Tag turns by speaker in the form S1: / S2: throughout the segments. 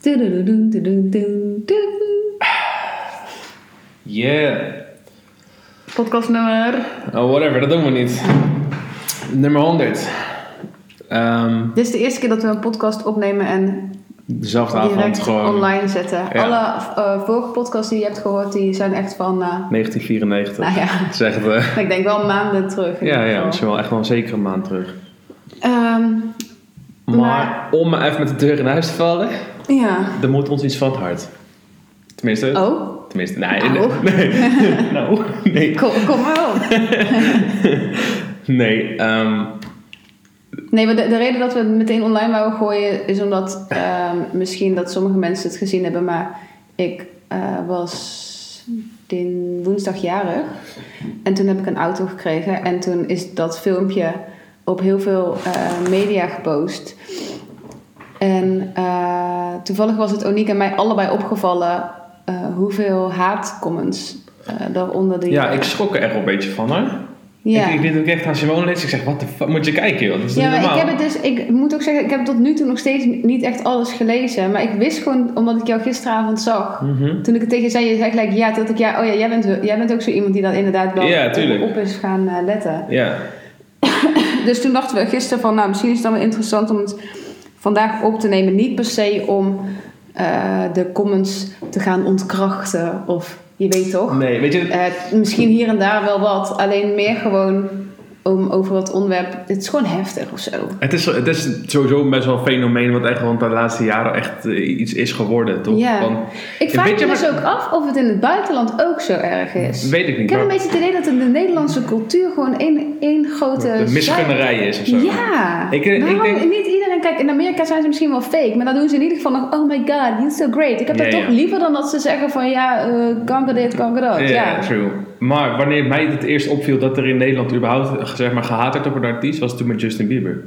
S1: Tudududum, tududum, tudum.
S2: Yeah.
S1: Podcastnummer.
S2: Oh, whatever, dat doen we niet. Nummer 100. Ehm,
S1: Dit is de eerste keer dat we een podcast opnemen en
S2: dezelfde avond
S1: direct
S2: gewoon.
S1: online zetten.
S2: Ja.
S1: Alle eh, vorige podcasts die je hebt gehoord, die zijn echt van, eh,
S2: 1994.
S1: nou ja,
S2: Dat is echt, eh,
S1: ik denk wel maanden terug. in
S2: ja,
S1: ieder
S2: ja,
S1: geval.
S2: dat is wel echt wel een zekere maand terug.
S1: Ehm,
S2: Maar,
S1: Maar-
S2: om maar even met de deur in huis te vallen,
S1: ja.
S2: er moet ons iets van het hart. Tenminste,
S1: Oh,
S2: tenminste, nee,
S1: Nou.
S2: nee, nou, nee,
S1: kom, kom maar op.
S2: nee, ehm,
S1: Nee, maar de, de reden dat we het meteen online wouden gooien is omdat ehm, misschien dat sommige mensen het gezien hebben, maar ik eh, was din, woensdag jarig en toen heb ik een auto gekregen en toen is dat filmpje op heel veel eh, media gepost. En eh, toevallig was het Oniek en mij allebei opgevallen eh, hoeveel haatcomments eh daaronder die...
S2: ja, ik schrok er echt wel een beetje van, hoor.
S1: Ja.
S2: Ik, ik deed ook echt aan Simone les. Ik zeg, wat de fuck, moet je kijken, joh. Dat is
S1: Ja,
S2: niet
S1: maar ik
S2: normaal.
S1: heb het dus, ik moet ook zeggen, ik heb tot nu toe nog steeds niet echt alles gelezen. Maar ik wist gewoon, omdat ik jou gisteravond zag,
S2: Mhm.
S1: toen ik het tegen je zei, je zei gelijk ja, toen dacht ik ja, oh ja, jij bent, jij bent ook zo iemand die dan inderdaad wel
S2: Ja, tuurlijk.
S1: op is gaan eh, letten.
S2: Ja,
S1: Dus toen dachten we gisteren van, nou misschien is het dan wel interessant om het vandaag op te nemen. Niet per se om eh, de comments te gaan ontkrachten of je weet toch.
S2: nee, weet je,
S1: Eh, misschien hier en daar wel wat, alleen meer gewoon om over het onderwerp. Het is gewoon heftig of zo.
S2: Het is, het is sowieso best wel een fenomeen wat echt gewoon de laatste jaren echt eh, iets is geworden, toch?
S1: Ja.
S2: Want,
S1: Ik
S2: Ja,
S1: vraag
S2: weet
S1: me
S2: je,
S1: dus ook af of het in het buitenland ook zo erg is.
S2: weet ik
S1: ik
S2: niet,
S1: heb een
S2: maar
S1: beetje het idee dat in de Nederlandse cultuur gewoon één, één grote...
S2: de misgunnerij is of zo.
S1: zuip- eh, Ja.
S2: Ik- eh, ik
S1: Waarom
S2: denk-
S1: niet iedereen... Kijk, in Amerika zijn ze misschien wel fake. Maar dan doen ze in ieder geval nog... Oh my god, you're so great. Ik heb dat
S2: Ja,
S1: toch
S2: ja.
S1: liever dan dat ze zeggen van... Ja, eh, kanker dit, kanker dat.
S2: Ja,
S1: ja.
S2: true. Maar wanneer mij het eerst opviel dat er in Nederland überhaupt eh, zeg maar, gehaat werd op een artiest, was toen met Justin Bieber.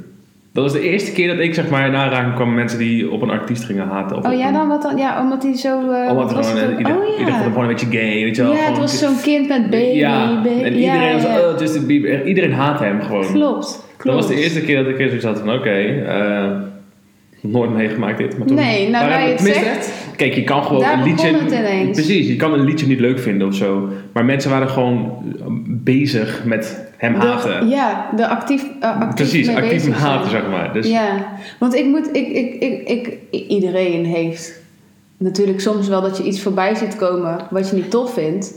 S2: Dat was de eerste keer dat ik zeg maar in aanraking kwam met mensen die op een artiest gingen haten. Of
S1: Oh
S2: op
S1: ja,
S2: een-
S1: dan wat dan? Ja, omdat hij zo... eh,
S2: Omdat
S1: was
S2: gewoon,
S1: het
S2: eh,
S1: ook?
S2: ieder,
S1: oh
S2: ieder vond hem
S1: ja.
S2: gewoon een beetje gay, weet je wel.
S1: ja, het
S2: gewoon-
S1: was zo'n kind met baby.
S2: Ja,
S1: baby.
S2: en iedereen
S1: ja,
S2: was,
S1: ja.
S2: oh Justin Bieber. En Iedereen haat hem gewoon.
S1: Klopt, klopt.
S2: Dat was de eerste keer dat ik er zoiets had van, oké, eh, nooit meegemaakt dit. Maar toen,
S1: Nee, nou,
S2: Maar
S1: wij het
S2: tenminste,
S1: zegt.
S2: Kijk, je kan gewoon
S1: Daar
S2: een
S1: begon
S2: liedje...
S1: het ineens.
S2: Precies, je kan een liedje niet leuk vinden of zo. Maar mensen waren gewoon bezig met hem
S1: De-
S2: haten.
S1: ja, de actief, eh, actief
S2: precies,
S1: mee
S2: actief hem
S1: bezig zijn.
S2: haten, zeg maar. Dus,
S1: Ja, want ik moet, ik, ik, ik, ik, iedereen heeft natuurlijk soms wel dat je iets voorbij ziet komen wat je niet tof vindt.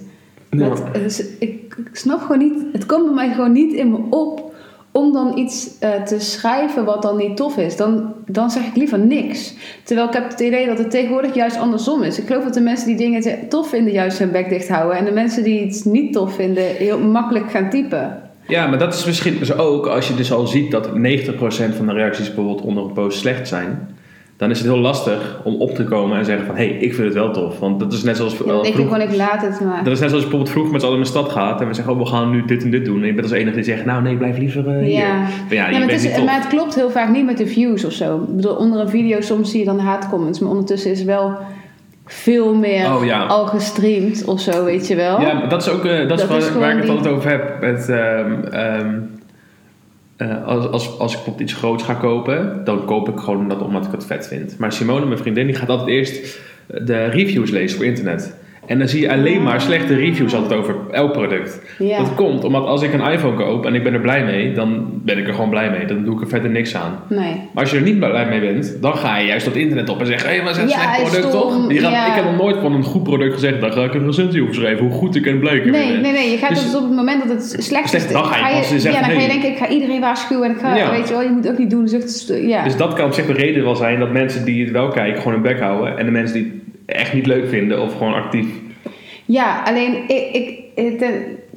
S2: Ja.
S1: Maar het- het is- ik, ik snap gewoon niet, het komt bij mij gewoon niet in me op om dan iets eh, te schrijven wat dan niet tof is. Dan, dan zeg ik liever niks. Terwijl ik heb het idee dat het tegenwoordig juist andersom is. Ik geloof dat de mensen die dingen te- tof vinden juist hun bek dicht houden. En de mensen die iets niet tof vinden heel makkelijk gaan typen.
S2: Ja, maar dat is misschien dus ook als je dus al ziet dat 90% van de reacties bijvoorbeeld onder een post slecht zijn. Dan is het heel lastig om op te komen en zeggen van, hé, hey, ik vind het wel tof. Want dat is net zoals...
S1: Ja, dan denk ik
S2: vroeger-
S1: gewoon, ik laat het maar.
S2: Dat is net zoals je bijvoorbeeld vroeg met z'n allen in de stad gaat en we zeggen, oh, we gaan nu dit en dit doen. En je bent als enige die zegt, nou nee, blijf liever eh, hier.
S1: Ja.
S2: Maar ja, je
S1: Ja, maar,
S2: bent
S1: het
S2: niet
S1: is,
S2: tof.
S1: maar het klopt heel vaak niet met de views of zo. Ik bedoel, onder een video soms zie je dan haatcomments, maar ondertussen is wel veel meer
S2: Oh, ja.
S1: al gestreamd of zo, weet je wel.
S2: Ja, maar dat is ook eh, dat is
S1: Dat
S2: waar,
S1: is
S2: waar
S1: gewoon
S2: ik het
S1: die-
S2: altijd over heb. Het, ehm, ehm, eh, als, als, als ik bijvoorbeeld iets groots ga kopen, dan koop ik gewoon dat omdat ik het vet vind. Maar Simone, mijn vriendin, die gaat altijd eerst eh, de reviews lezen op internet. En dan zie je alleen maar slechte reviews altijd over elk product.
S1: Ja.
S2: Dat komt omdat als ik een iPhone koop en ik ben er blij mee, dan ben ik er gewoon blij mee. Dan doe ik er verder niks aan.
S1: Nee.
S2: Maar als je er niet blij mee bent, dan ga je juist op het internet op en zeg: hé, hey, was een
S1: Ja,
S2: slecht
S1: hij is
S2: product
S1: stom,
S2: toch? Je gaat,
S1: ja.
S2: Ik heb nog nooit van een goed product gezegd, dan ga ik een recensie over schrijven, hoe goed ik en blij ik er
S1: Nee,
S2: weer ben.
S1: nee, nee. Je gaat
S2: Dus-
S1: dus op het moment dat het slecht is,
S2: Slecht, dan ga je pas zeggen,
S1: ja, dan ga je
S2: nee.
S1: denken, ik ga iedereen waarschuwen en ik ga,
S2: Ja.
S1: weet je wel, je moet ook niet doen. Dus het is- ja.
S2: Dus dat kan op zich de reden wel zijn dat mensen die het wel kijken gewoon hun bek houden. En de mensen die het echt niet leuk vinden of gewoon actief.
S1: Ja, alleen ik, ik, het, eh,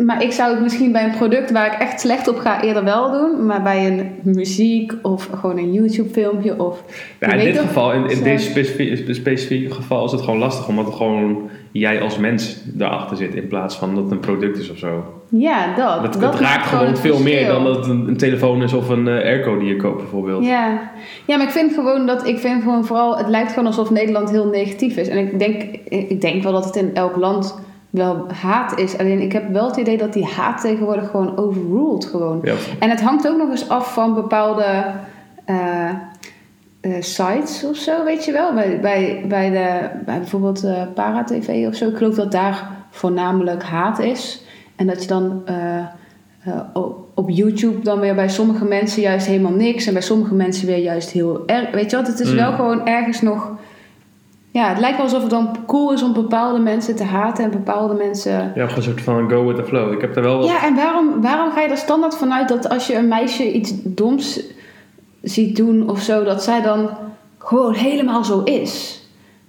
S1: maar ik zou het misschien bij een product waar ik echt slecht op ga eerder wel doen. Maar bij een muziek of gewoon een YouTube filmpje of...
S2: Ja,
S1: je
S2: in
S1: weet
S2: dit
S1: toch,
S2: geval, in, in
S1: zo-
S2: dit specifieke, specifieke geval, is het gewoon lastig omdat er gewoon jij als mens daarachter zit in plaats van dat het een product is of zo.
S1: Ja, dat.
S2: Dat,
S1: dat
S2: het raakt
S1: maakt
S2: gewoon,
S1: het
S2: veel meer
S1: verschil.
S2: dan dat het een, een telefoon is of een eh, airco die je koopt bijvoorbeeld.
S1: Ja. ja, maar ik vind gewoon dat ik vind gewoon vooral, het lijkt gewoon alsof Nederland heel negatief is. En ik denk, ik denk wel dat het in elk land wel haat is. Alleen ik heb wel het idee dat die haat tegenwoordig gewoon overruled gewoon.
S2: Ja.
S1: En het hangt ook nog eens af van bepaalde eh, eh, sites of zo, weet je wel. Bij, bij, bij, de, bij bijvoorbeeld eh Paratv of zo. Ik geloof dat daar voornamelijk haat is. En dat je dan eh, eh, op, op YouTube dan weer bij sommige mensen juist helemaal niks. En bij sommige mensen weer juist heel erg. Weet je wat, het is
S2: Mm.
S1: wel gewoon ergens nog... Ja, het lijkt wel alsof het dan cool is om bepaalde mensen te haten en bepaalde mensen...
S2: Ja, gewoon een soort van go with the flow. Ik heb er wel wat...
S1: Ja, en waarom, waarom ga je er standaard vanuit dat als je een meisje iets doms ziet doen of zo, dat zij dan gewoon helemaal zo is?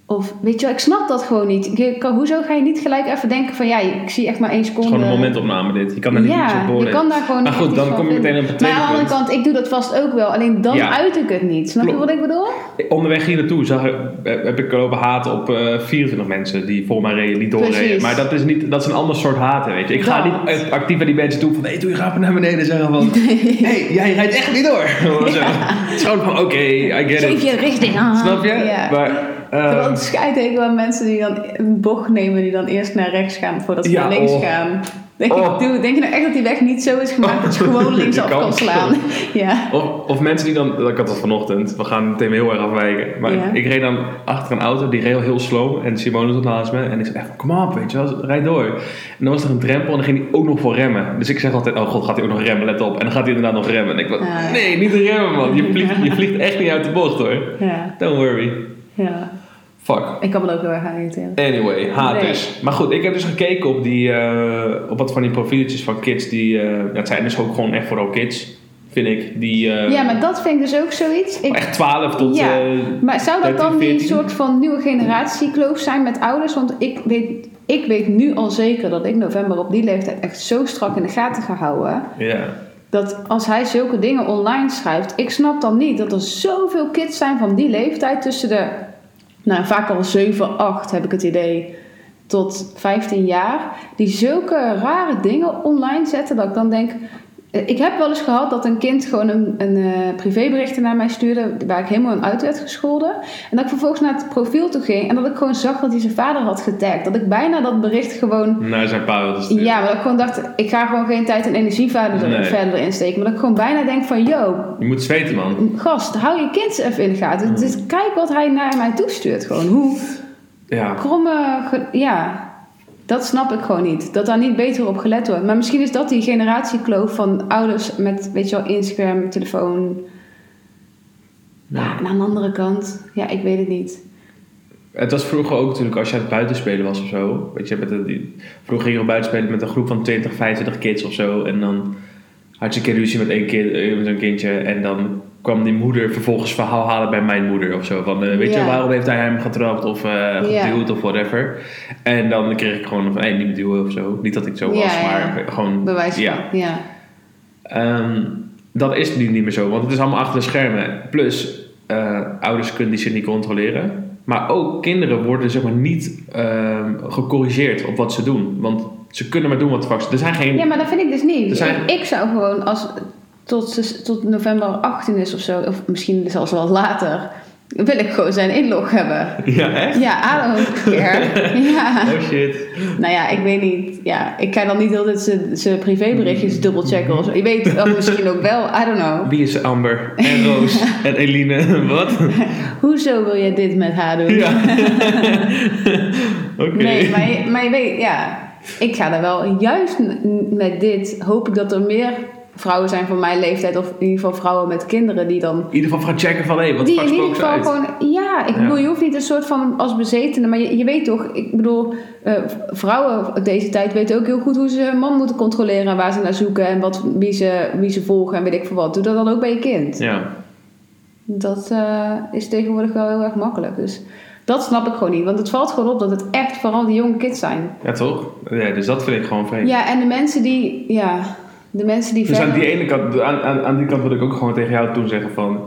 S1: Of weet je wel, ik snap dat gewoon niet. Je kan, hoezo ga je niet gelijk even denken van ja, ik zie echt maar één
S2: Het
S1: seconde.
S2: is gewoon een momentopname dit. Je kan er niet iets
S1: eh, Ja,
S2: op
S1: je
S2: boren.
S1: kan daar gewoon
S2: Maar
S1: niet
S2: goed,
S1: echt
S2: dan
S1: iets van
S2: kom je meteen
S1: vinden.
S2: op het
S1: Maar
S2: tweede
S1: aan de andere
S2: punt.
S1: kant, ik doe dat vast ook wel. Alleen dan
S2: Ja.
S1: uit ik het niet. Snap je
S2: Klopt.
S1: wat ik bedoel?
S2: Onderweg hier naartoe zag, heb ik lopen haat op eh 24 mensen die voor mij reden, niet doorreden.
S1: Precies.
S2: Maar dat is, niet, dat is een ander soort haten, weet je. Ik ga
S1: Dat.
S2: niet uit- actief naar die mensen toe van... Hé, hey, doe je grappig naar beneden en zeggen van... Hé, hey, jij rijdt echt niet door. Of zo. Het is gewoon van, oké, I get
S1: Geef
S2: it.
S1: je richting aan.
S2: Snap je?
S1: ah, Ja.
S2: Maar, ehm,
S1: Vooral het scheidhekel aan mensen die dan een bocht nemen die dan eerst naar rechts gaan voordat ze
S2: Ja,
S1: naar links
S2: oh.
S1: gaan. Denk,
S2: Oh.
S1: ik, dude, denk je nou echt dat die weg niet zo is gemaakt dat je gewoon
S2: Je
S1: linksaf
S2: kan
S1: kan slaan? ja.
S2: Of, of mensen die dan, ik had dat vanochtend, we gaan meteen weer heel erg afwijken. Maar
S1: Ja.
S2: ik, ik reed dan achter een auto, die reed al heel slow. En Simone zat naast me. En ik zei echt, kom op, weet je wel, rijd door. En dan was er een drempel en dan ging hij ook nog voor remmen. Dus ik zeg altijd, oh god, gaat hij ook nog remmen, let op. En dan gaat hij inderdaad nog remmen. En ik dacht,
S1: Ah.
S2: nee, niet remmen man. Je vliegt, je vliegt echt niet uit de bocht hoor.
S1: Ja,
S2: Don't worry.
S1: ja.
S2: Fuck.
S1: Ik kan me er ook heel erg aan irriteren.
S2: Anyway, haat
S1: Nee.
S2: dus. Maar goed, ik heb dus gekeken op, die, eh, op wat van die profieletjes van kids. Die, eh, ja, het zijn dus ook gewoon echt vooral kids, vind ik. Die, eh,
S1: Ja, maar dat vind ik dus ook zoiets. Ik,
S2: echt 12 tot...
S1: Ja.
S2: eh,
S1: maar zou dat dan
S2: 13,
S1: die
S2: 14?
S1: soort van nieuwe generatie kloof zijn met ouders? Want ik weet, ik weet nu al zeker dat ik november op die leeftijd echt zo strak in de gaten ga houden.
S2: Ja.
S1: Dat als hij zulke dingen online schrijft, ik snap dan niet dat er zoveel kids zijn van die leeftijd tussen de, nou vaak al 7, 8 heb ik het idee, tot 15 jaar, die zulke rare dingen online zetten dat ik dan denk, eh, ik heb wel eens gehad dat een kind gewoon een, een eh, privéberichtje naar mij stuurde waar ik helemaal aan uit werd gescholden. En dat ik vervolgens naar het profiel toe ging en dat ik gewoon zag dat hij zijn vader had getagd. Dat ik bijna dat bericht gewoon
S2: Naar zijn pa wilde sturen.
S1: ja, maar dat ik gewoon dacht, ik ga gewoon geen tijd en energie verder,
S2: Nee.
S1: verder insteken. Maar dat ik gewoon bijna denk van, yo,
S2: Je moet zweten, man.
S1: gast, hou je kind even in de gaten. Dus kijk wat hij naar mij toestuurt. Gewoon hoe
S2: Ja.
S1: kromme, ge- ja, dat snap ik gewoon niet. Dat daar niet beter op gelet wordt. Maar misschien is dat die generatiekloof van ouders met, weet je wel, Instagram, telefoon. Ja, en aan de andere kant, ja, ik weet het niet.
S2: Het was vroeger ook natuurlijk als je aan het buitenspelen was of zo. Weet je, met de, die- vroeger ging je buitenspelen met een groep van 20, 25 kids of zo. En dan had je een keer ruzie met één kind, eh, met zo'n kindje. En dan kwam die moeder vervolgens verhaal halen bij mijn moeder of zo. Van eh, weet je,
S1: Ja.
S2: waarom heeft hij hem getrapt of eh
S1: Ja.
S2: geduwd of whatever. En dan kreeg ik gewoon van, hé, niet duwen of zo. Niet dat ik zo
S1: Ja, ja.
S2: was, maar gewoon...
S1: Bewijs van,
S2: ja.
S1: ja. ja.
S2: Ehm, dat is nu niet meer zo, want het is allemaal achter de schermen. Plus, eh, ouders kunnen die shit niet controleren. Maar ook kinderen worden zeg maar niet ehm, gecorrigeerd op wat ze doen. Want ze kunnen maar doen wat vak ze... Er zijn geen...
S1: Ja, maar dat vind ik dus
S2: Er
S1: niet.
S2: zijn-
S1: Ik, ik zou gewoon als tot, ze- tot november 18 is of zo, of misschien zelfs wel later, wil ik gewoon zijn inlog hebben.
S2: Ja, echt?
S1: Ja, I don't care. Ja.
S2: Oh shit.
S1: Nou ja, ik weet niet. Ja, ik ga dan niet altijd zijn- zijn privéberichtjes dubbelchecken of zo. Je weet dat misschien ook wel. I don't know.
S2: Wie is Amber? En Roos? en Eline? wat?
S1: Hoezo wil je dit met haar doen?
S2: Ja. Oké.
S1: Nee, maar je, maar je weet, ja. Ik ga er wel, juist n- met dit, hoop ik dat er meer vrouwen zijn van mijn leeftijd. Of in ieder geval vrouwen met kinderen die dan
S2: In ieder geval gaan checken van, hé, wat
S1: Die
S2: vak
S1: in ieder
S2: spook ze
S1: geval
S2: uit?
S1: gewoon, ja, ik
S2: Ja.
S1: bedoel, je hoeft niet een soort van als bezetene, maar je, je weet toch, ik bedoel, eh, vrouwen op deze tijd weten ook heel goed hoe ze hun man moeten controleren en waar ze naar zoeken en wat, wie, ze, wie ze volgen en weet ik veel wat. Doe dat dan ook bij je kind.
S2: Ja.
S1: Dat eh, is tegenwoordig wel heel erg makkelijk. Dus dat snap ik gewoon niet, want het valt gewoon op dat het echt vooral die jonge kids zijn.
S2: ja, toch? Ja, dus dat vind ik gewoon vreemd.
S1: Ja, en de mensen die, ja, de mensen die
S2: Dus aan
S1: verder-
S2: die ene kant, aan, aan, aan die kant wil ik ook gewoon tegen jou toen zeggen van,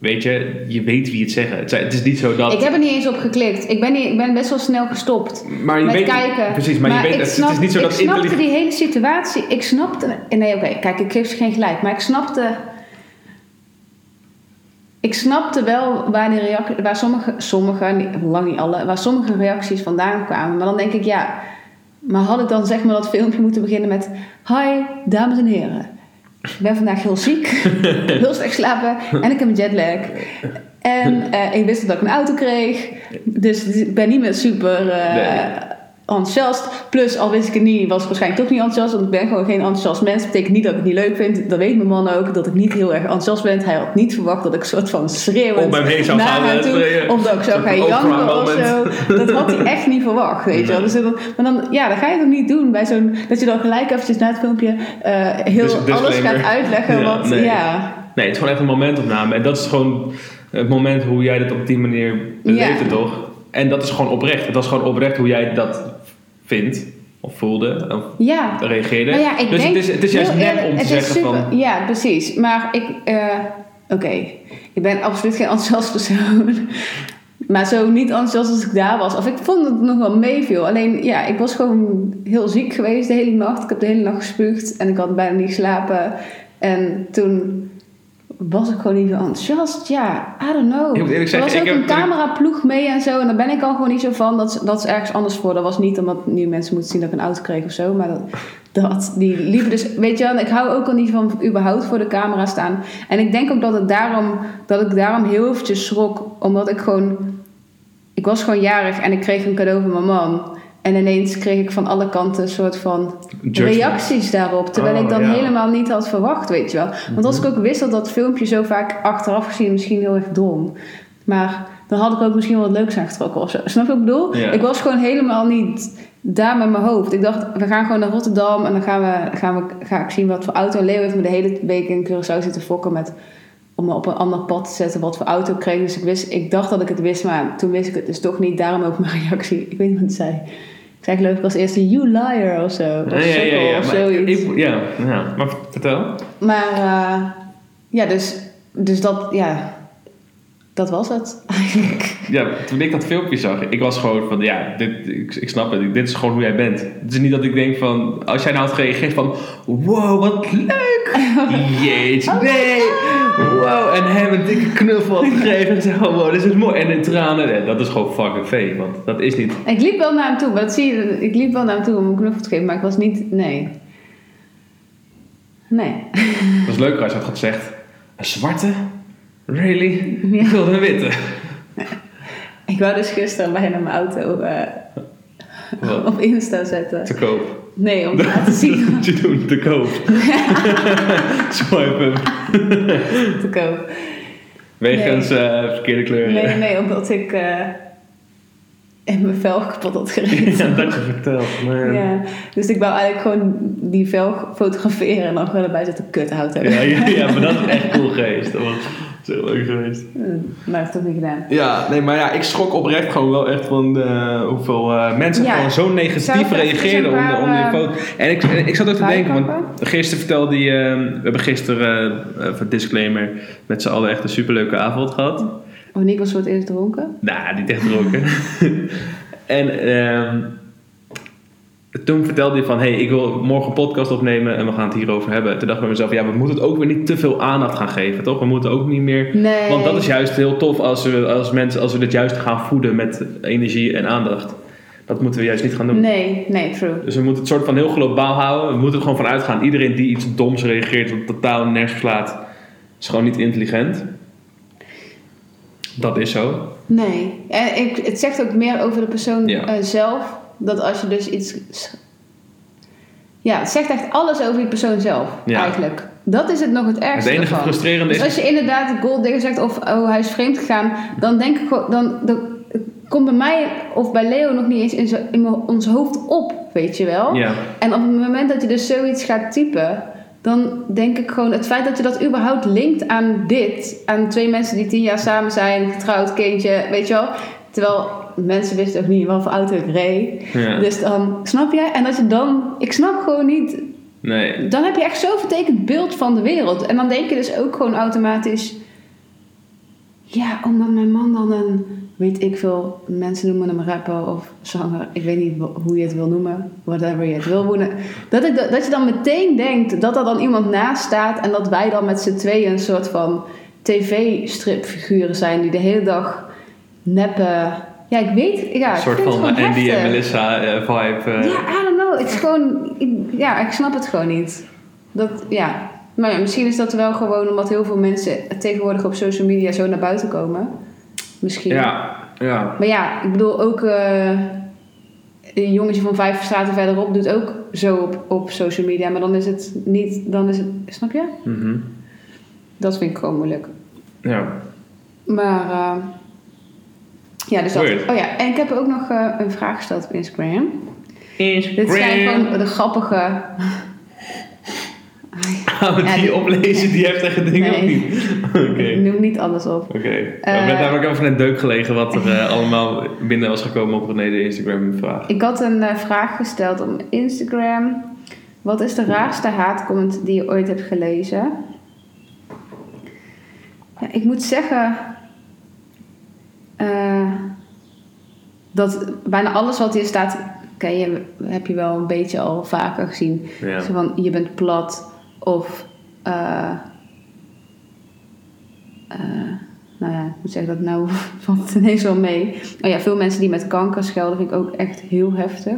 S2: weet je, je weet wie het zeggen. Het, zijn- het is niet zo dat,
S1: Ik heb er niet eens op geklikt. Ik ben, niet, ik ben best wel snel gestopt.
S2: maar je
S1: met
S2: weet,
S1: kijken.
S2: precies, maar, je weet,
S1: ik
S2: het,
S1: snap-
S2: het is niet zo dat
S1: Ik snapte
S2: intelligent.
S1: die hele situatie. Ik snapte... Nee, oké. kijk, ik geef ze geen gelijk. Maar ik snapte... Ik snapte wel waar, die reac- waar sommige, sommige, niet- lang niet alle, waar sommige reacties vandaan kwamen. Maar dan denk ik, ja, maar had ik dan zeg maar dat filmpje moeten beginnen met... Hi, dames en heren. Ik ben vandaag heel ziek, heel slecht slapen en ik heb een jetlag. En eh, ik wist dat ik een auto kreeg. Dus ik ben niet meer super eh,
S2: Nee.
S1: enthousiast. Plus, al wist ik het niet, was ik waarschijnlijk toch niet enthousiast. Want ik ben gewoon geen enthousiast mens. Dat betekent niet dat ik het niet leuk vind. Dat weet mijn man ook, dat ik niet heel erg enthousiast ben. Hij had niet verwacht dat ik soort van schreeuwend
S2: Om hem heen zou gaan,
S1: naar hem
S2: eh,
S1: toe.
S2: eh,
S1: Omdat ik zou
S2: zo'n
S1: gaan
S2: Oprah
S1: janken of zo.
S2: moment.
S1: Dat had hij echt niet verwacht, weet je wel.
S2: Nee.
S1: Dus dat, maar dan, ja, dan ga je het ook niet doen. Bij zo'n, dat je dan gelijk eventjes na het filmpje eh, heel
S2: Dus-
S1: alles
S2: disclaimer.
S1: gaat uitleggen.
S2: Ja,
S1: wat,
S2: nee.
S1: ja.
S2: Nee, het is gewoon echt een momentopname. En dat is gewoon het moment hoe jij dat op die manier beleefde,
S1: Ja.
S2: toch? En dat is gewoon oprecht. Het was gewoon oprecht hoe jij dat vindt, of voelde, of
S1: ja,
S2: reageerde.
S1: Nou ja, ik
S2: dus
S1: denk,
S2: het is, het is juist
S1: heel
S2: nep
S1: eerlijk,
S2: om te
S1: het is
S2: zeggen
S1: super-
S2: van...
S1: Ja, precies. Maar ik... eh, Oké, ik ben absoluut geen enthousiast persoon. Maar zo niet enthousiast als ik daar was. Of ik vond het nog wel meeviel. Alleen, ja, ik was gewoon heel ziek geweest de hele nacht. Ik heb de hele nacht gespuugd. En ik had bijna niet geslapen. En toen was ik gewoon niet zo enthousiast. Ja, I don't know.
S2: Ik moet eerlijk zeggen,
S1: er was ook
S2: ik heb-
S1: een cameraploeg mee en zo. En daar ben ik al gewoon niet zo van. Dat, is- dat is ergens anders voor. Dat was niet omdat nu mensen moeten zien dat ik een auto kreeg of zo. Maar dat, dat die liepen dus... Weet je wel, en ik hou ook al niet van überhaupt voor de camera staan. En ik denk ook dat, het daarom, dat ik daarom heel eventjes schrok. Omdat ik gewoon... Ik was gewoon jarig en ik kreeg een cadeau van mijn man. En ineens kreeg ik van alle kanten een soort van
S2: Judgment.
S1: reacties daarop. Terwijl
S2: Oh,
S1: ik dan
S2: ja. Mhm.
S1: helemaal niet had verwacht, weet je wel. Want als ik ook wist dat dat filmpje zo vaak achteraf gezien misschien heel erg dom. Maar dan had ik ook misschien wat leuks aangetrokken of zo. Snap je wat ik bedoel?
S2: Ja.
S1: Ik was gewoon helemaal niet daar met mijn hoofd. Ik dacht, we gaan gewoon naar Rotterdam en dan gaan we, gaan we, ga ik zien wat voor auto. Leo heeft me de hele week in Curaçao zitten fokken met... Om me op een ander pad te zetten wat voor auto ik kreeg. Dus ik, wist, ik dacht dat ik het wist, maar toen wist ik het dus toch niet. Daarom ook mijn reactie. Ik weet niet wat het zei. Ik zei geloof ik als eerste, you liar of zo. Of
S2: Ja,
S1: sukkel
S2: ja, ja, ja,
S1: of
S2: maar
S1: zoiets.
S2: ik- ja, ja, maar vertel.
S1: Maar eh, ja, dus, dus dat, ja, dat was het eigenlijk.
S2: Ja, toen ik dat filmpje zag, ik was gewoon van, ja, dit, ik, ik snap het. Dit is gewoon hoe jij bent. Het is niet dat ik denk van, als jij nou had gereageerd van, wow, wat leuk. Jeetje, nee. Wow, en hem een dikke knuffel had gegeven. En zei, oh, wow, dit is mooi. En in tranen. Nee, dat is gewoon fucking fake, want dat is niet...
S1: Ik liep wel naar hem toe, maar dat zie je, ik liep wel naar hem toe om een knuffel te geven, maar ik was niet, nee. Nee.
S2: Dat is leuker als je had gezegd, een zwarte? Really? Ik wilde een witte.
S1: Ik wou dus gisteren bijna mijn auto eh,
S2: Wat?
S1: op Insta zetten.
S2: Te koop.
S1: Nee, om te laten zien
S2: Wat je doen, te koop. Swipe hem.
S1: te koop.
S2: Wegens eh, verkeerde kleuren.
S1: Nee, nee, omdat ik eh, in mijn velg kapot had gereden.
S2: Ja, dat je vertelt. man.
S1: Ja, dus ik wou eigenlijk gewoon die velg fotograferen en dan gewoon erbij zetten, kut auto.
S2: Ja, ja, ja, maar dat is echt cool geweest. Dat was zo leuk geweest.
S1: Eh, Maar dat heb ik niet gedaan.
S2: Ja, nee, maar ja, ik schrok oprecht gewoon wel echt van eh, hoeveel eh, mensen
S1: Ja.
S2: gewoon zo
S1: Zou
S2: negatief
S1: ik even
S2: reageerden
S1: een
S2: om, de-
S1: paar,
S2: om die
S1: eh,
S2: foto. En ik, en ik zat ook te denken, want
S1: bijkampen?
S2: gisteren vertelde je, we hebben gisteren, eh, even disclaimer, met z'n allen echt een superleuke avond gehad.
S1: Monique Oh, was voor het eerst dronken.
S2: Nou, niet echt roken. en ehm, toen vertelde hij van, hey, ik wil morgen een podcast opnemen en we gaan het hierover hebben. Toen dacht ik bij mezelf, ja, we moeten het ook weer niet te veel aandacht gaan geven, toch? We moeten ook niet meer...
S1: Nee.
S2: Want dat is juist heel tof als we, als mensen, als we dit juist gaan voeden met energie en aandacht. Dat moeten we juist niet gaan doen.
S1: Nee, nee, true.
S2: Dus we moeten het soort van heel globaal houden. We moeten er gewoon van uitgaan. Iedereen die iets doms reageert, wat totaal nergens slaat, is gewoon niet intelligent. Dat is zo.
S1: Nee. En ik, het zegt ook meer over de persoon
S2: Ja.
S1: eh, zelf. Dat als je dus iets. Ja, het zegt echt alles over die persoon zelf,
S2: Ja.
S1: eigenlijk. Dat is het nog het
S2: Het
S1: ergste.
S2: enige
S1: ervan.
S2: frustrerende
S1: Dus
S2: is
S1: als je inderdaad de gold digger zegt of oh, hij is vreemd gegaan, dan denk ik gewoon, dan, dan het komt bij mij of bij Leo nog niet eens in, zo- in mijn- ons hoofd op, weet je wel.
S2: Ja.
S1: En op het moment dat je dus zoiets gaat typen, dan denk ik gewoon het feit dat je dat überhaupt linkt aan dit, aan twee mensen die tien jaar samen zijn, getrouwd, kindje, weet je wel. Terwijl mensen wisten ook niet wat voor auto ik reed.
S2: Ja.
S1: Dus dan, snap jij? En dat je dan, ik snap gewoon niet
S2: Nee.
S1: dan heb je echt zo'n vertekend beeld van de wereld. En dan denk je dus ook gewoon automatisch... Ja, omdat mijn man dan een... Weet ik veel, mensen noemen hem rapper of zanger. Ik weet niet wo- hoe je het wil noemen. Whatever je het wil noemen. Dat, ik, da- dat je dan meteen denkt dat er dan iemand naast staat... en dat wij dan met z'n tweeën een soort van tv-stripfiguren zijn... die de hele dag neppen... Ja, ik weet... Ja,
S2: een soort
S1: ik vind
S2: van
S1: het gewoon
S2: Andy en
S1: heftig.
S2: Melissa eh, vibe. eh.
S1: Ja, I don't know. Het is gewoon... ik- ja, ik snap het gewoon niet. Dat, ja. Maar ja, misschien is dat wel gewoon omdat heel veel mensen tegenwoordig op social media zo naar buiten komen. Misschien.
S2: Ja, ja.
S1: Maar ja, ik bedoel ook eh, een jongetje van vijf straten verderop doet ook zo op, op social media. Maar dan is het niet, dan is het, snap je?
S2: mhm.
S1: Dat vind ik gewoon moeilijk.
S2: ja.
S1: Maar eh, ja, dus dat.
S2: Weird.
S1: Oh ja, en ik heb ook nog eh, een vraag gesteld op Instagram. Dit zijn gewoon de grappige.
S2: Gaan we
S1: Ja,
S2: die
S1: die-
S2: oplezen, die heeft echt dingen
S1: Nee. Eh,
S2: of niet? Oké.
S1: Ik noem niet alles op.
S2: Oké. Nou, We hebben namelijk over een deuk gelegen wat er eh, allemaal binnen was gekomen op René de Instagram-vraag.
S1: Ik had een eh, vraag gesteld op Instagram. Wat is de raarste haatcomment die je ooit hebt gelezen? Ja, ik moet zeggen eh, dat bijna alles wat hier staat, ken je, heb je wel een beetje al vaker gezien.
S2: Ja.
S1: Zo van je bent plat of eh, eh, nou ja, ik moet zeggen dat nou valt het ineens wel mee. Oh ja, veel mensen die met kanker schelden vind ik ook echt heel heftig.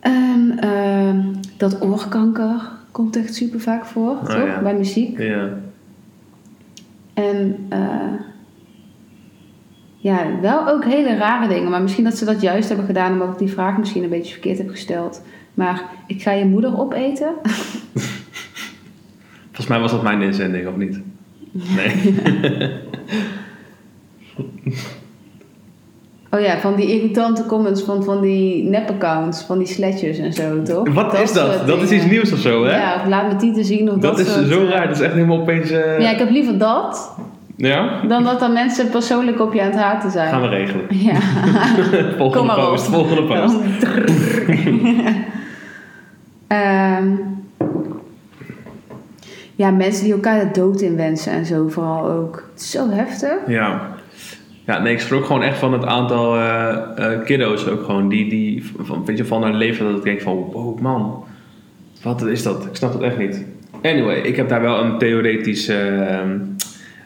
S1: En ehm, dat oorkanker komt echt super vaak voor,
S2: Oh
S1: toch?
S2: ja.
S1: Bij muziek.
S2: Ja.
S1: En eh, ja, wel ook hele rare dingen. Maar misschien dat ze dat juist hebben gedaan omdat ik die vraag misschien een beetje verkeerd heb gesteld. Maar ik ga je moeder opeten.
S2: Volgens mij was dat mijn inzending, of niet? Nee.
S1: Oh ja, van die irritante comments van, van die nep-accounts, van die sletjes en zo, toch?
S2: Wat is dat?
S1: soort
S2: Dat is iets
S1: dingen.
S2: nieuws of zo, hè?
S1: Ja, of laat me tieten zien of
S2: dat,
S1: dat,
S2: is
S1: soort,
S2: zo
S1: eh,
S2: raar. Dat is echt helemaal opeens... eh,
S1: Ja, ik heb liever dat
S2: ja?
S1: dan dat dan mensen persoonlijk op je aan het haten zijn.
S2: Gaan we regelen.
S1: Ja. Kom
S2: Volgende
S1: maar op.
S2: post, volgende post.
S1: Ehm, ja, mensen die elkaar de dood in wensen en zo vooral ook. Het is Zo heftig.
S2: Ja. Ja, nee, ik schrok gewoon echt van het aantal eh, eh, kiddo's ook gewoon. Die, die van, weet je, van hun leven dat ik denk van, wow man, wat is dat? Ik snap dat echt niet. Anyway, ik heb daar wel een theoretisch eh,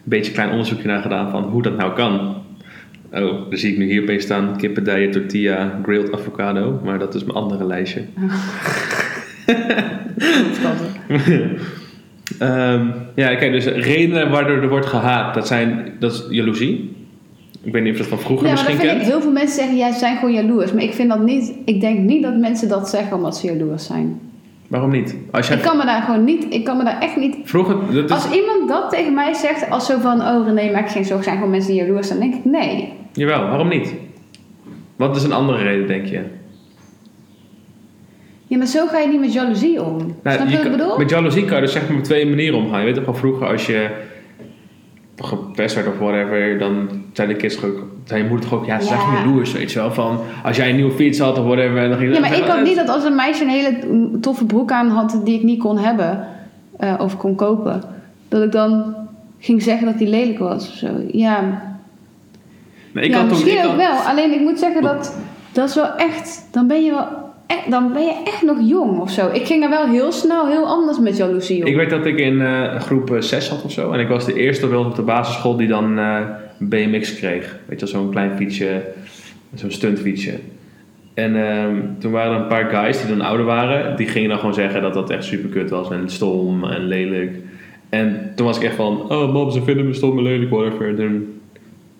S2: beetje klein onderzoekje naar gedaan van hoe dat nou kan. Oh, dan zie ik nu hier opeens staan, kippendijen, tortilla, grilled avocado. Maar dat is mijn andere lijstje. Ehm, ja, kijk, dus redenen waardoor er wordt gehaat, dat zijn, dat is jaloezie. Ik weet niet of je dat van vroeger
S1: Ja, maar dat
S2: misschien
S1: vind ik.
S2: kent.
S1: Heel veel mensen zeggen, jij zijn gewoon jaloers. Maar ik vind dat niet. Ik denk niet dat mensen dat zeggen omdat ze jaloers zijn.
S2: Waarom niet? Als jij
S1: Ik kan me daar gewoon niet. Ik kan me daar echt niet.
S2: vroeger, dat is,
S1: Als iemand dat tegen mij zegt, als zo van, oh René, maak je geen zorgen, zijn gewoon mensen die jaloers zijn, dan denk ik nee.
S2: jawel, waarom niet? Wat is een andere reden, denk je?
S1: Ja, maar zo ga je niet met jaloezie om.
S2: Nou,
S1: Snap je
S2: je
S1: wat ik
S2: kan-
S1: bedoel?
S2: Met jaloezie kan je dus zeg maar op twee manieren omgaan. Je weet toch wel, vroeger als je gepest werd of whatever, dan zei de kids toch ook, zei je moeder toch ook, ja, ze
S1: Ja.
S2: zijn gewoon jaloers, weet je wel. Van, als jij een nieuwe fiets had of whatever, en dan ging
S1: Ja,
S2: dan
S1: maar
S2: zei
S1: ik
S2: je,
S1: had niet dat als een meisje een hele toffe broek aan had die ik niet kon hebben eh, of kon kopen, dat ik dan ging zeggen dat die lelijk was of zo. Ja,
S2: Nee, ik
S1: ja
S2: had toen-
S1: misschien
S2: ik
S1: ook
S2: had-
S1: wel. Alleen ik moet zeggen dat dat is wel echt, dan ben je wel. echt- Dan ben je echt nog jong of zo. Ik ging daar wel heel snel heel anders met jaloezie om.
S2: Ik weet dat ik in eh, groep 6 had of zo. En ik was de eerste wel op de basisschool die dan eh, een BMX kreeg. Weet je, wel, zo'n klein fietsje, zo'n stuntfietsje. En ehm, toen waren er een paar guys die dan ouder waren. Die gingen dan gewoon zeggen dat dat echt super kut was. En stom en lelijk. En toen was ik echt van, oh mam, ze vinden me stom en lelijk, whatever. En toen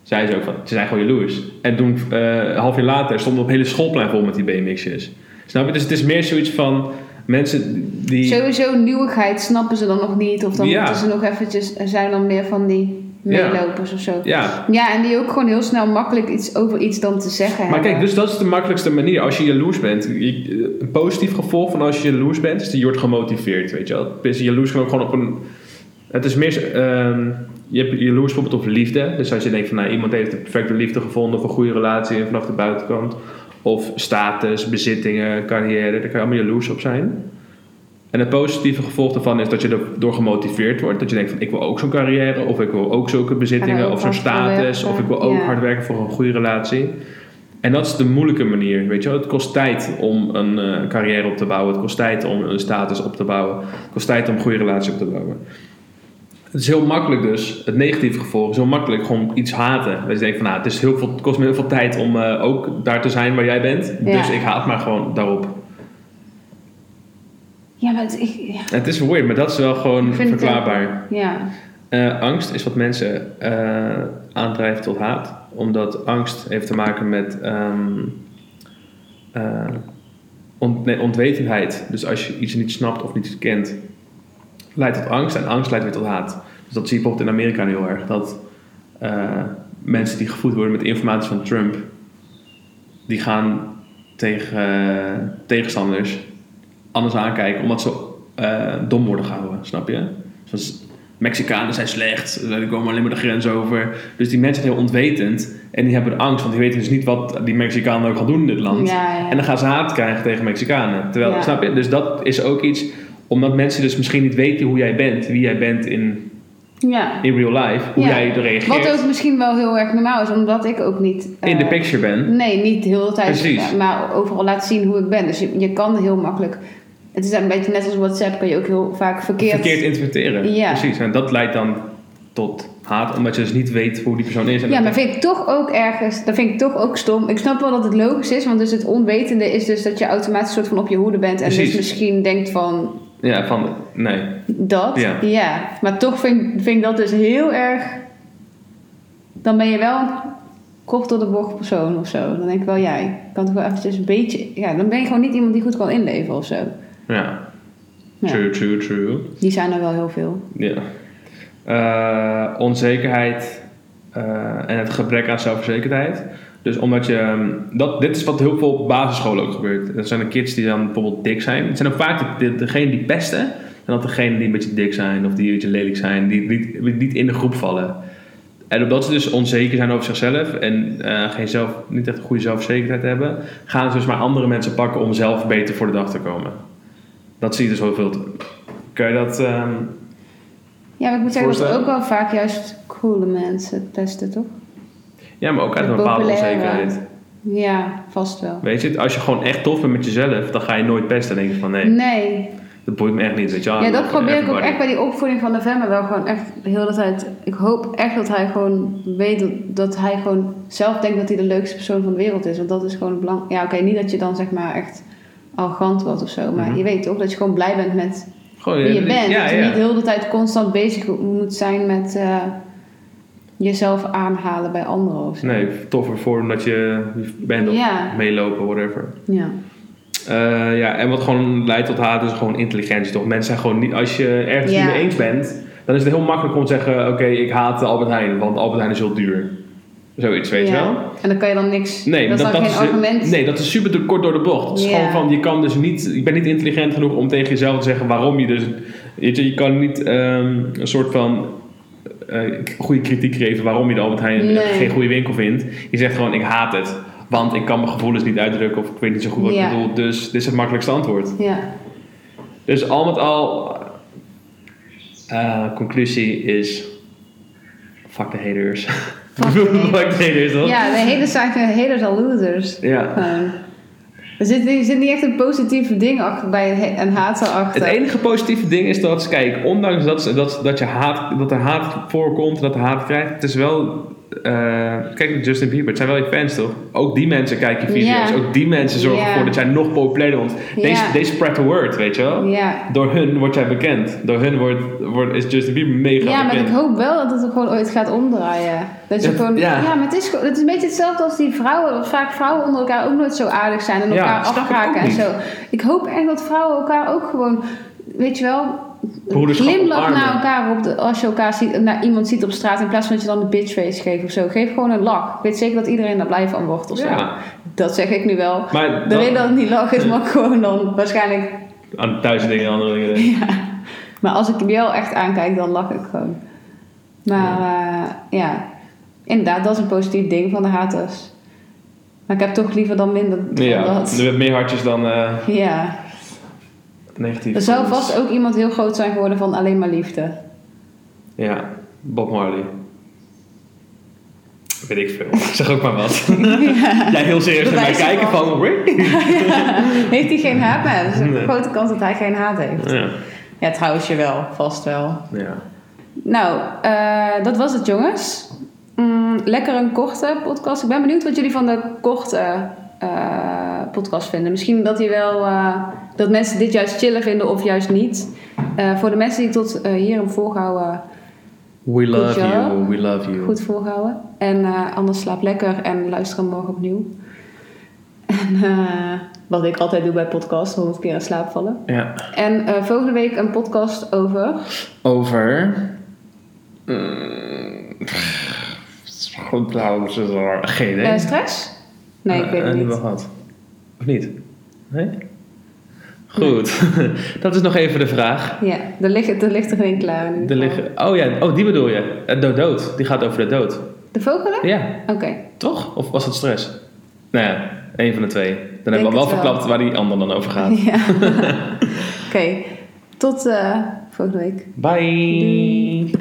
S2: zei ze ook van, ze zijn gewoon jaloers. En toen, eh, een half jaar later, stond het hele schoolplein vol met die BMX'jes. Snap je? Dus het is meer zoiets van mensen die...
S1: Sowieso nieuwigheid snappen ze dan nog niet. Of dan
S2: Ja.
S1: moeten ze nog eventjes, er zijn dan meer van die
S2: Ja.
S1: meelopers of zo.
S2: Ja,
S1: Ja, en die ook gewoon heel snel makkelijk iets over iets dan te zeggen
S2: Maar
S1: hebben.
S2: kijk, dus dat is de makkelijkste manier. Als je jaloers bent, je- een positief gevolg van als je jaloers bent, is dat je wordt gemotiveerd, weet je wel. Dus jaloers kan ook gewoon op een... Het is meer... zo- ehm, je hebt jaloers bijvoorbeeld op liefde. Dus als je denkt van, nou, iemand heeft de perfecte liefde gevonden of een goede relatie en vanaf de buitenkant. Of status, bezittingen, carrière, daar kan je allemaal jaloers op zijn. En het positieve gevolg daarvan is dat je erdoor gemotiveerd wordt. Dat je denkt van, ik wil ook zo'n carrière, of ik wil ook zulke bezittingen,
S1: ook
S2: of zo'n
S1: hard voor
S2: status,
S1: werken.
S2: of ik wil ook
S1: Ja.
S2: hard werken voor een goede relatie. En dat is de moeilijke manier, weet je wel. Het kost tijd om een eh, carrière op te bouwen. Het kost tijd om een status op te bouwen. Het kost tijd om een goede relatie op te bouwen. Het is heel makkelijk dus, het negatieve gevolg is heel makkelijk gewoon iets haten. Dat je denkt van, nou, het, is heel veel, het kost me heel veel tijd om eh, ook daar te zijn waar jij bent.
S1: Ja.
S2: Dus ik haat maar gewoon daarop.
S1: Ja, maar Ja, het, ik, ja.
S2: Het is weird, maar dat is wel gewoon
S1: Ik vind het, eh,
S2: verklaarbaar.
S1: ja.
S2: Eh, angst is wat mensen eh, aandrijft tot haat. Omdat angst heeft te maken met ehm, eh, ont- nee, ontwetendheid. Dus als je iets niet snapt of niet kent, leidt tot angst. En angst leidt weer tot haat. Dus dat zie je bijvoorbeeld in Amerika nu heel erg. Dat eh, mensen die gevoed worden met informatie van Trump, die gaan tegen eh, tegenstanders anders aankijken. Omdat ze eh, dom worden gehouden, snap je? Zoals Mexicanen zijn slecht, eh, die komen alleen maar de grens over. Dus die mensen zijn heel ontwetend en die hebben angst, want die weten dus niet wat die Mexicanen ook gaan doen in dit land.
S1: Ja, ja.
S2: En dan gaan ze haat krijgen tegen Mexicanen. Terwijl,
S1: Ja.
S2: snap je? Dus dat is ook iets, omdat mensen dus misschien niet weten hoe jij bent, wie jij bent in,
S1: ja.
S2: in real life, hoe
S1: Ja.
S2: jij reageert,
S1: Wat ook misschien wel heel erg normaal is, omdat ik ook niet. eh,
S2: in de picture bent.
S1: Nee, niet heel de hele tijd.
S2: Precies.
S1: Maar overal laat zien hoe ik ben. Dus je, je kan heel makkelijk. Het is een beetje net als WhatsApp, kan je ook heel vaak verkeerd.
S2: Verkeerd interpreteren.
S1: Ja.
S2: Precies. En dat leidt dan tot haat, omdat je dus niet weet hoe die persoon is. En
S1: Ja,
S2: dat-
S1: maar vind ik toch ook ergens, dat vind ik toch ook stom. Ik snap wel dat het logisch is, want dus het onwetende is dus dat je automatisch soort van op je hoede bent en
S2: Precies.
S1: dus misschien denkt van
S2: ja van, nee.
S1: dat.
S2: Ja.
S1: Maar toch vind, ik- vind ik dat dus heel erg. Dan ben je wel een kort door de bocht persoon of zo. Dan denk ik wel, jij kan toch wel eventjes een beetje. Ja, dan ben je gewoon niet iemand die goed kan inleven of zo.
S2: Ja.
S1: Ja.
S2: True, true, true.
S1: Die zijn er wel heel veel.
S2: Ja. Eh, onzekerheid eh, en het gebrek aan zelfverzekerdheid. Dus omdat je. ehm, Dat, dit is wat heel veel op basisscholen ook gebeurt. Dat zijn de kids die dan bijvoorbeeld dik zijn. Het zijn ook vaak de, de- degenen die pesten. En dat degenen die een beetje dik zijn of die een beetje lelijk zijn, die niet, die niet in de groep vallen. En omdat ze dus onzeker zijn over zichzelf en eh, geen zelf, niet echt een goede zelfverzekerdheid hebben, gaan ze dus maar andere mensen pakken om zelf beter voor de dag te komen. Dat zie je dus heel veel. Kun je dat. ehm,
S1: Ja, maar ik moet zeggen dat
S2: Voorstellen?
S1: ook wel vaak juist coole mensen testen, toch?
S2: Ja, maar ook uit
S1: De
S2: een bepaalde
S1: populaire.
S2: onzekerheid.
S1: Ja, vast wel.
S2: Weet je, het, als je gewoon echt tof bent met jezelf, dan ga je nooit pesten. Dan denk je van nee,
S1: Nee,
S2: dat boeit me echt niet. Weet je, wel.
S1: Mm. Ja,
S2: I'm
S1: dat
S2: not
S1: probeer ik ook
S2: everybody.
S1: echt bij die opvoeding van november wel gewoon echt de hele tijd. Ik hoop echt dat hij gewoon weet dat, dat hij gewoon zelf denkt dat hij de leukste persoon van de wereld is. Want dat is gewoon belangrijk. Ja, oké, niet dat je dan zeg maar echt arrogant wordt of zo. Maar
S2: Mhm.
S1: je weet ook dat je gewoon blij bent met
S2: Gewoon,
S1: wie
S2: eh,
S1: je bent.
S2: Ja,
S1: dat je
S2: ja.
S1: niet de hele tijd constant bezig moet zijn met eh, jezelf aanhalen bij anderen of zo.
S2: Nee, toffer voor omdat je bent of
S1: Ja.
S2: meelopen, whatever.
S1: Ja.
S2: Eh, ja, en wat gewoon leidt tot haat is gewoon intelligentie, toch? Mensen zijn gewoon niet... Als je ergens
S1: Ja.
S2: niet mee eens bent, dan is het heel makkelijk om te zeggen... Oké, ik haat Albert Heijn, want Albert Heijn is heel duur. Zoiets, weet je
S1: Ja.
S2: wel?
S1: En dan kan je dan niks.
S2: Nee,
S1: dat is
S2: maar
S1: dan geen
S2: is,
S1: argument.
S2: Nee, dat is super te kort door de bocht. Het is
S1: Ja.
S2: gewoon van, je kan dus niet, je bent niet intelligent genoeg om tegen jezelf te zeggen waarom je dus, weet je, je kan niet ehm, een soort van eh, goede kritiek geven waarom je de Albert Heijn
S1: Nee.
S2: geen goede winkel vindt. Je zegt gewoon, ik haat het, want ik kan mijn gevoelens niet uitdrukken of ik weet niet zo goed wat
S1: Ja.
S2: ik bedoel, dus dit is het makkelijkste antwoord.
S1: Ja.
S2: Dus al met al, eh, conclusie is, fuck de haters.
S1: Fuck de haters.
S2: fuck de haters, toch?
S1: ja, de hele zaak, de haters are losers.
S2: ja.
S1: Gewoon. Er zit, er zit niet echt een positieve ding achter, bij een, he- een haat erachter.
S2: Het enige positieve ding is dat, kijk, ondanks dat, ze- dat, dat, je haat, dat er haat voorkomt, dat er haat krijgt, het is wel. eh, kijk naar Justin Bieber, het zijn wel je fans toch? Ook die mensen kijken je video's,
S1: Ja.
S2: ook die mensen zorgen
S1: Ja.
S2: ervoor dat jij nog populairder wordt.
S1: Ja.
S2: Deze They spread the word, weet je wel?
S1: Ja.
S2: Door hun word jij bekend. Door hun wordt, wordt, is Justin Bieber mega
S1: Ja, maar
S2: bekend.
S1: ik hoop wel dat het er gewoon ooit gaat omdraaien. Dat je
S2: Het-
S1: gewoon,
S2: ja.
S1: ja. maar het is, gewoon- het is een beetje hetzelfde als die vrouwen. Want vaak vrouwen onder elkaar ook nooit zo aardig zijn en
S2: Ja,
S1: elkaar
S2: dat snap ik
S1: afkraken
S2: ook
S1: en
S2: niet.
S1: zo. Ik hoop echt dat vrouwen elkaar ook gewoon, weet je wel,
S2: Broederschap
S1: glimlach
S2: omarmen.
S1: naar elkaar op de, als je elkaar ziet, naar iemand ziet op straat in plaats van dat je dan een bitchface geeft of zo. Geef gewoon een lach. Ik weet zeker dat iedereen daar blij van wordt of zo.
S2: Ja.
S1: Dat zeg ik nu wel.
S2: Maar
S1: De
S2: dat-
S1: reden dat het niet lach is, maar gewoon dan waarschijnlijk.
S2: Aan duizend dingen, andere dingen.
S1: Ja. Maar als ik jou echt aankijk, dan lach ik gewoon. Maar eh, ja, inderdaad, dat is een positief ding van de haters. Maar ik heb toch liever dan minder dan
S2: Ja,
S1: dat.
S2: er werd meer hartjes dan eh,
S1: Ja.
S2: negatief.
S1: Er zou vast ook iemand heel groot zijn geworden van alleen maar liefde.
S2: Ja, Bob Marley. Weet ik veel. Ik zeg ook maar wat. Jij heel serieus
S1: Dat
S2: naar mij
S1: wijst
S2: kijken
S1: ervan.
S2: van... "Really?"
S1: Heeft hij geen haat? Nee, dat is een
S2: Nee.
S1: grote kans dat hij geen haat heeft.
S2: Ja,
S1: Ja, trouwens, je wel. Vast wel.
S2: ja.
S1: Nou, eh, dat was het jongens. Mm, lekker een korte podcast. Ik ben benieuwd wat jullie van de korte eh, podcast vinden. Misschien dat hij wel eh, dat mensen dit juist chillen vinden of juist niet. Eh, voor de mensen die tot eh, hier hem volgehouden,
S2: We love
S1: job.
S2: you, we love you.
S1: goed volgehouden. En eh, anders slaap lekker en luister hem morgen opnieuw. En, eh, wat ik altijd doe bij podcasts, honderd keer in slaap vallen.
S2: Ja.
S1: En eh, volgende week een podcast over...
S2: Over. Mm, Goed, nou, ze is er- Geen idee.
S1: eh, stress? Nee, ik weet het
S2: Eh, hebben
S1: niet.
S2: we gehad. Of niet? Nee? Goed. Dat is nog even de vraag.
S1: Ja, er ligt, er ligt er geen klaar in ieder
S2: Er
S1: geval.
S2: liggen... Oh ja, oh, die bedoel je. Eh, De dood. Die gaat over de dood.
S1: De vogelen?
S2: Ja,
S1: Oké.
S2: toch? Of was dat stress? Nou ja, één van de twee. Dan
S1: Denk
S2: hebben we wel
S1: het wel.
S2: verklapt waar die ander dan over gaat.
S1: Ja. Oké. Tot eh, volgende week.
S2: Bye!
S1: Doei.